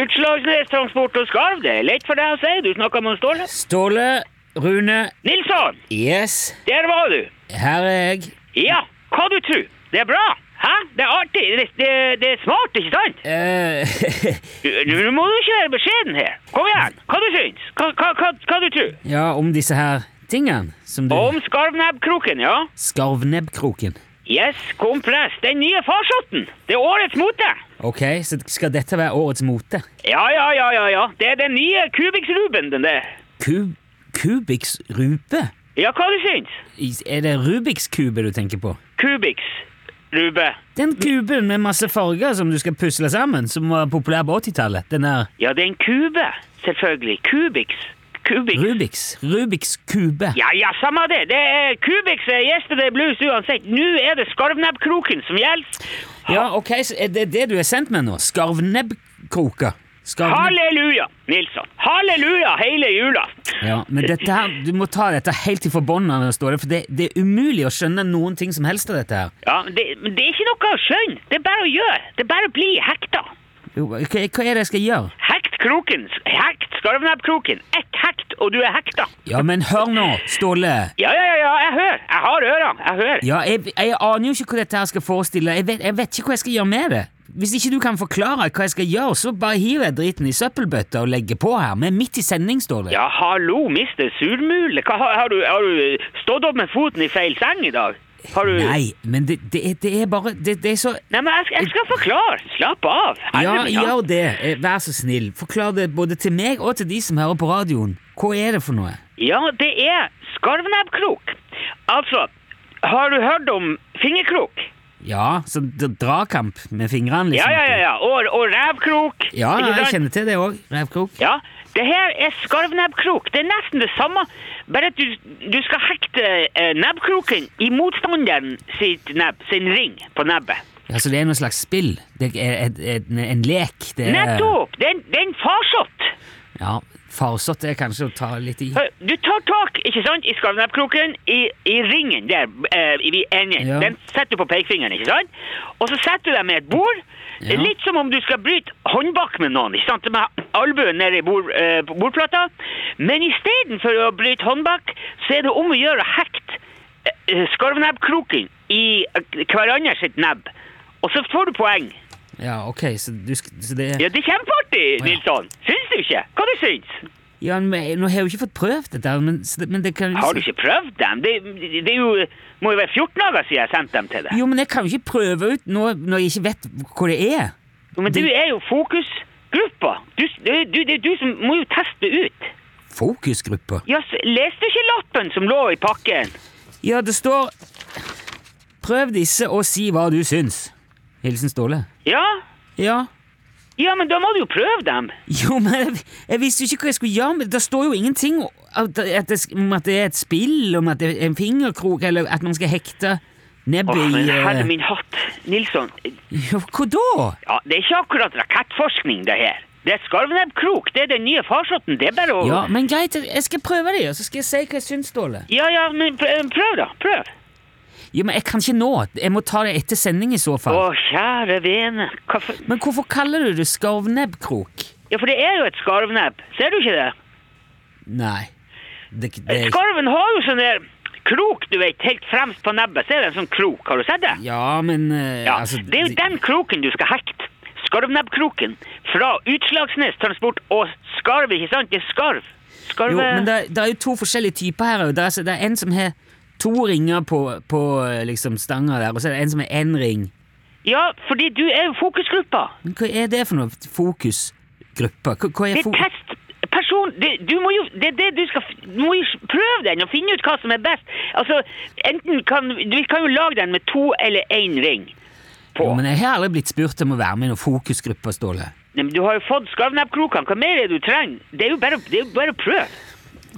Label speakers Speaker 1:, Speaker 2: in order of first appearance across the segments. Speaker 1: Utslagsnes Transport og Skarv, det er lett for deg å si. Du snakka med Ståle.
Speaker 2: Ståle, Rune
Speaker 1: Nilsson,
Speaker 2: Yes,
Speaker 1: der var du.
Speaker 2: her er jeg.
Speaker 1: Ja, hva du tror. Det er bra. Hæ? Det er artig. Det, det, det er smart, ikke sant?
Speaker 2: eh
Speaker 1: Du, du må jo ikke være beskjeden her. Kom igjen. Hva du syns? Hva, hva, hva, hva du tror?
Speaker 2: ja, om disse her tingene som du
Speaker 1: Om skarvnebbkroken, ja?
Speaker 2: Skarvnebbkroken.
Speaker 1: Yes, kompress. Den nye farsotten. Det er årets mote.
Speaker 2: Ok, så skal dette være årets mote?
Speaker 1: Ja, ja, ja, ja, ja. Det er den nye Kubikksruben, den der.
Speaker 2: Kub... Kubiks rube?
Speaker 1: Ja, hva du syns?
Speaker 2: Is- Er det Rubiks kube du tenker på?
Speaker 1: Kubikksrube.
Speaker 2: Den kuben med masse farger som du skal pusle sammen, som var populær på 80-tallet. Den der
Speaker 1: Ja, det er en kube, selvfølgelig. Kubiks. Kubiks.
Speaker 2: Rubiks. Rubiks kube.
Speaker 1: Ja, ja, samme det. det er Kubiks er yesterday blues uansett. Nå er det skarvnebbkroken som gjelder.
Speaker 2: Ja, ok, så er det det du er sendt med nå? Skarvnebbkroker? Skarvnebb...
Speaker 1: Halleluja, Nilsson. Halleluja hele jula.
Speaker 2: Ja, men dette her, du må ta dette helt ifra bånn av det står det, for det, det er umulig å skjønne noen ting som helst av dette her.
Speaker 1: Ja, men det, men det er ikke noe å skjønne. Det er bare å gjøre. Det er bare å bli hekta.
Speaker 2: Jo, Hva, hva er det jeg skal gjøre?
Speaker 1: Hekt kroken. Hekt skarvnebbkroken. Ett hekt, og du er hekta.
Speaker 2: Ja, men hør nå, Ståle.
Speaker 1: Ja, ja, ja, ja, jeg hører. Jeg har ørene. Jeg hører.
Speaker 2: Ja, jeg, jeg aner jo ikke hva dette her skal forestille. Jeg vet, jeg vet ikke hva jeg skal gjøre med det. Hvis ikke du kan forklare hva jeg skal gjøre, så bare hiver jeg driten i søppelbøtta og legger på her. Men midt i sending, står det.
Speaker 1: Ja, hallo, mister surmule. Hva, har, har, du, har du eh, stått opp med foten i feil seng i dag? Har du...
Speaker 2: Nei, men det, det, er- det er bare Det, det er så
Speaker 1: Nei, men jeg, jeg skal forklare. Slapp av.
Speaker 2: Ja,
Speaker 1: Herre min hatt.
Speaker 2: gjør det. Eh, Vær så snill. Forklar det både til meg og til de som hører på radioen. Hva er det for noe?
Speaker 1: ja, det er skarvnebbkrok. Altså, har du hørt om fingerkrok?
Speaker 2: Ja, så d- drakamp med fingrene, liksom.
Speaker 1: Ja, ja, ja. ja. Og, og revkrok.
Speaker 2: Ja,
Speaker 1: Ikke
Speaker 2: jeg
Speaker 1: sant?
Speaker 2: kjenner til det òg. Revkrok.
Speaker 1: Ja, det her er skarvnebbkrok. Det er nesten det samme, bare at du, du skal hekte eh, nebbkroken i motstanderen sitt nebb, sin ring på nebbet.
Speaker 2: Ja, så det er noe slags spill? Det er et, et, en lek? Det er
Speaker 1: Nettopp! Det er en- det er en farsott.
Speaker 2: Ja, farsott er kanskje å ta litt i.
Speaker 1: Hør, Du tar tak ikke sant, i skarvnebbkroken, i, i ringen der eh, i i enden.
Speaker 2: Ja.
Speaker 1: Den setter du på pekefingeren, ikke sant? Og så setter du deg med et bord. Det
Speaker 2: Ja.
Speaker 1: er litt som om du skal bryte håndbak med noen, ikke sant? med albuen nede i bord, eh, på bordplata. Men istedenfor å bryte håndbak, så er det om å gjøre å hekte eh, skarvnebbkroken i eh, hverandre sitt nebb. Og så får du poeng.
Speaker 2: Ja, ok, så, du, sk- så det
Speaker 1: Ja, Det er kjempeartig,
Speaker 2: Å, ja.
Speaker 1: Nilsson. Syns du ikke? Hva du syns du?
Speaker 2: Ja, men jeg- nå har jeg jo ikke fått prøvd dette, her, men, så det- men det kan liksom-
Speaker 1: Har du ikke prøvd dem? Det, det er jo, må jo være 14 dager siden jeg sendte dem til deg.
Speaker 2: Jo, men jeg kan jo ikke prøve ut noe når jeg ikke vet hva det er.
Speaker 1: Jo, Men du
Speaker 2: det-
Speaker 1: er jo fokusgruppa. Du, du, du, det er du som må jo teste ut.
Speaker 2: Fokusgrupper?
Speaker 1: Ja, s- leste du ikke lappen som lå i pakken?
Speaker 2: Ja, det står Prøv disse og si hva du syns. Hilsen Ståle.
Speaker 1: Ja?
Speaker 2: Ja.
Speaker 1: Ja, men da må du jo prøve dem.
Speaker 2: Jo, men jeg, jeg visste jo ikke hva jeg skulle gjøre med det. Det står jo ingenting om at at det, sk- om at det er et spill, om at det er en fingerkrok, eller at man skal hekte nebbet
Speaker 1: Åh, men
Speaker 2: i
Speaker 1: herre
Speaker 2: eh,
Speaker 1: min hatt. Nilsson,
Speaker 2: Ja, hva da?
Speaker 1: ja, det er ikke akkurat rakettforskning, det her. Det er skarvnebbkrok. Det er den nye farsotten. Det er bare å
Speaker 2: Ja, men greit, jeg skal prøve det, og så skal jeg si hva jeg syns, Ståle.
Speaker 1: ja, ja, men pr- eh, prøv, da. Prøv.
Speaker 2: Jo, men jeg kan ikke nå. Jeg må ta det etter sending i så
Speaker 1: Å,
Speaker 2: fall.
Speaker 1: kjære vene. Hva for
Speaker 2: Men hvorfor kaller du det skarvnebbkrok?
Speaker 1: Ja, for det er jo et skarvnebb. Ser du ikke det?
Speaker 2: Nei. Det, det,
Speaker 1: Skarven har jo sånn der krok, du vet, helt fremst på nebbet. Ser du en sånn krok? Har du sett det?
Speaker 2: ja, men eh,
Speaker 1: Ja,
Speaker 2: altså,
Speaker 1: det er jo den kroken du skal hekte. Skarvnebbkroken. Fra Utslagsnes Transport og Skarv, ikke sant? Det er skarv. Skarve...
Speaker 2: Jo, men det, det er jo to forskjellige typer her. og Det er, så- det er en som har to ringer på, på eh, liksom, stanga der, og så er det en som har én ring.
Speaker 1: Ja, fordi du er jo fokusgruppa.
Speaker 2: Men hva er det for noe? Fokusgruppe? Hva, hva
Speaker 1: Det
Speaker 2: er
Speaker 1: er
Speaker 2: fo
Speaker 1: test... Person, det, du må jo, det, er det du skal, f- du må jo s- prøve den og finne ut hva som er best. Altså, enten kan, du kan jo lage den med to eller en ring på.
Speaker 2: jo, men jeg har aldri blitt spurt om å være med i noen fokusgruppe, Ståle.
Speaker 1: Nei, men du har jo fått skarvnebbkrokene. Hva mer er det du trenger? Det er jo bare, det er jo bare å prøve.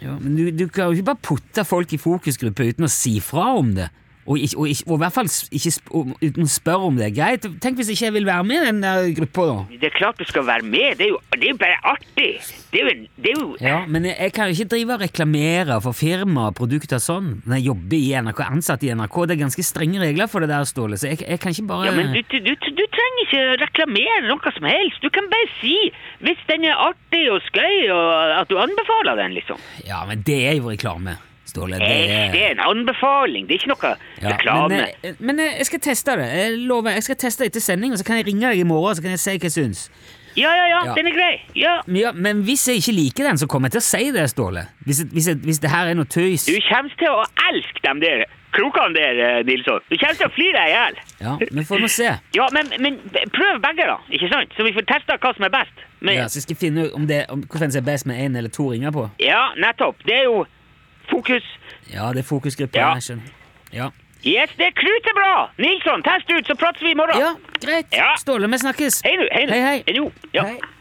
Speaker 2: Ja, men du, du kan jo ikke bare putte folk i fokusgruppe uten å si fra om det. Og, ikke, og, ikke, og i hvert fall s- ikke sp og, uten å spørre om det er greit. Tenk hvis ikke jeg vil være med i den der gruppa, da.
Speaker 1: Det er klart du skal være med. Det er jo, det er jo bare artig. Det er jo, en- det er jo
Speaker 2: Ja, Men jeg, jeg kan jo ikke drive og reklamere for firmaer og produkter sånn. Når jeg jobber i NRK, ansatt i NRK, det er ganske strenge regler for det der, Ståle, så jeg, jeg kan ikke bare
Speaker 1: Ja, men du, du, du, du trenger ikke reklamere noe som helst. Du kan bare si hvis den er artig og skøy, og at du anbefaler den, liksom.
Speaker 2: Ja, men det er jo reklame, Ståle. Det
Speaker 1: Eh, Det
Speaker 2: er
Speaker 1: er en anbefaling, det er ikke noe
Speaker 2: Ja,
Speaker 1: reklame.
Speaker 2: Men, eh, men eh, jeg skal teste det. Jeg lover. Jeg skal teste etter sending, og så kan jeg ringe deg i morgen og så kan jeg si hva jeg syns.
Speaker 1: Ja, ja, ja,
Speaker 2: Ja.
Speaker 1: den er grei. Ja.
Speaker 2: Men Ja, men hvis jeg ikke liker den, så kommer jeg til å si det, Ståle. Hvis, jeg- hvis, jeg- hvis det her er noe tøys.
Speaker 1: Du kommer til å elske dem der krokene der, eh, Nilsson. Du kommer til å flire deg i hjel.
Speaker 2: Ja, vi får nå se.
Speaker 1: Ja, men, men prøv begge, da. Ikke sant? Så vi får testa hva som er best. Men,
Speaker 2: Ja, så skal jeg finne ut om det, om hvordan det er best med én eller to ringer på.
Speaker 1: Ja, nettopp. Det er jo fokus.
Speaker 2: Ja, det er fokusgruppa.
Speaker 1: Ja.
Speaker 2: jeg skjønner. Ja.
Speaker 1: Yes, det er krutet bra! Nilsson, test ut, så prates vi i morgen.
Speaker 2: ja, greit.
Speaker 1: Ja.
Speaker 2: Ståle, vi snakkes.
Speaker 1: Hei nå. Hei, nå.
Speaker 2: Hei, hei.
Speaker 1: Jo, ja.
Speaker 2: Hei.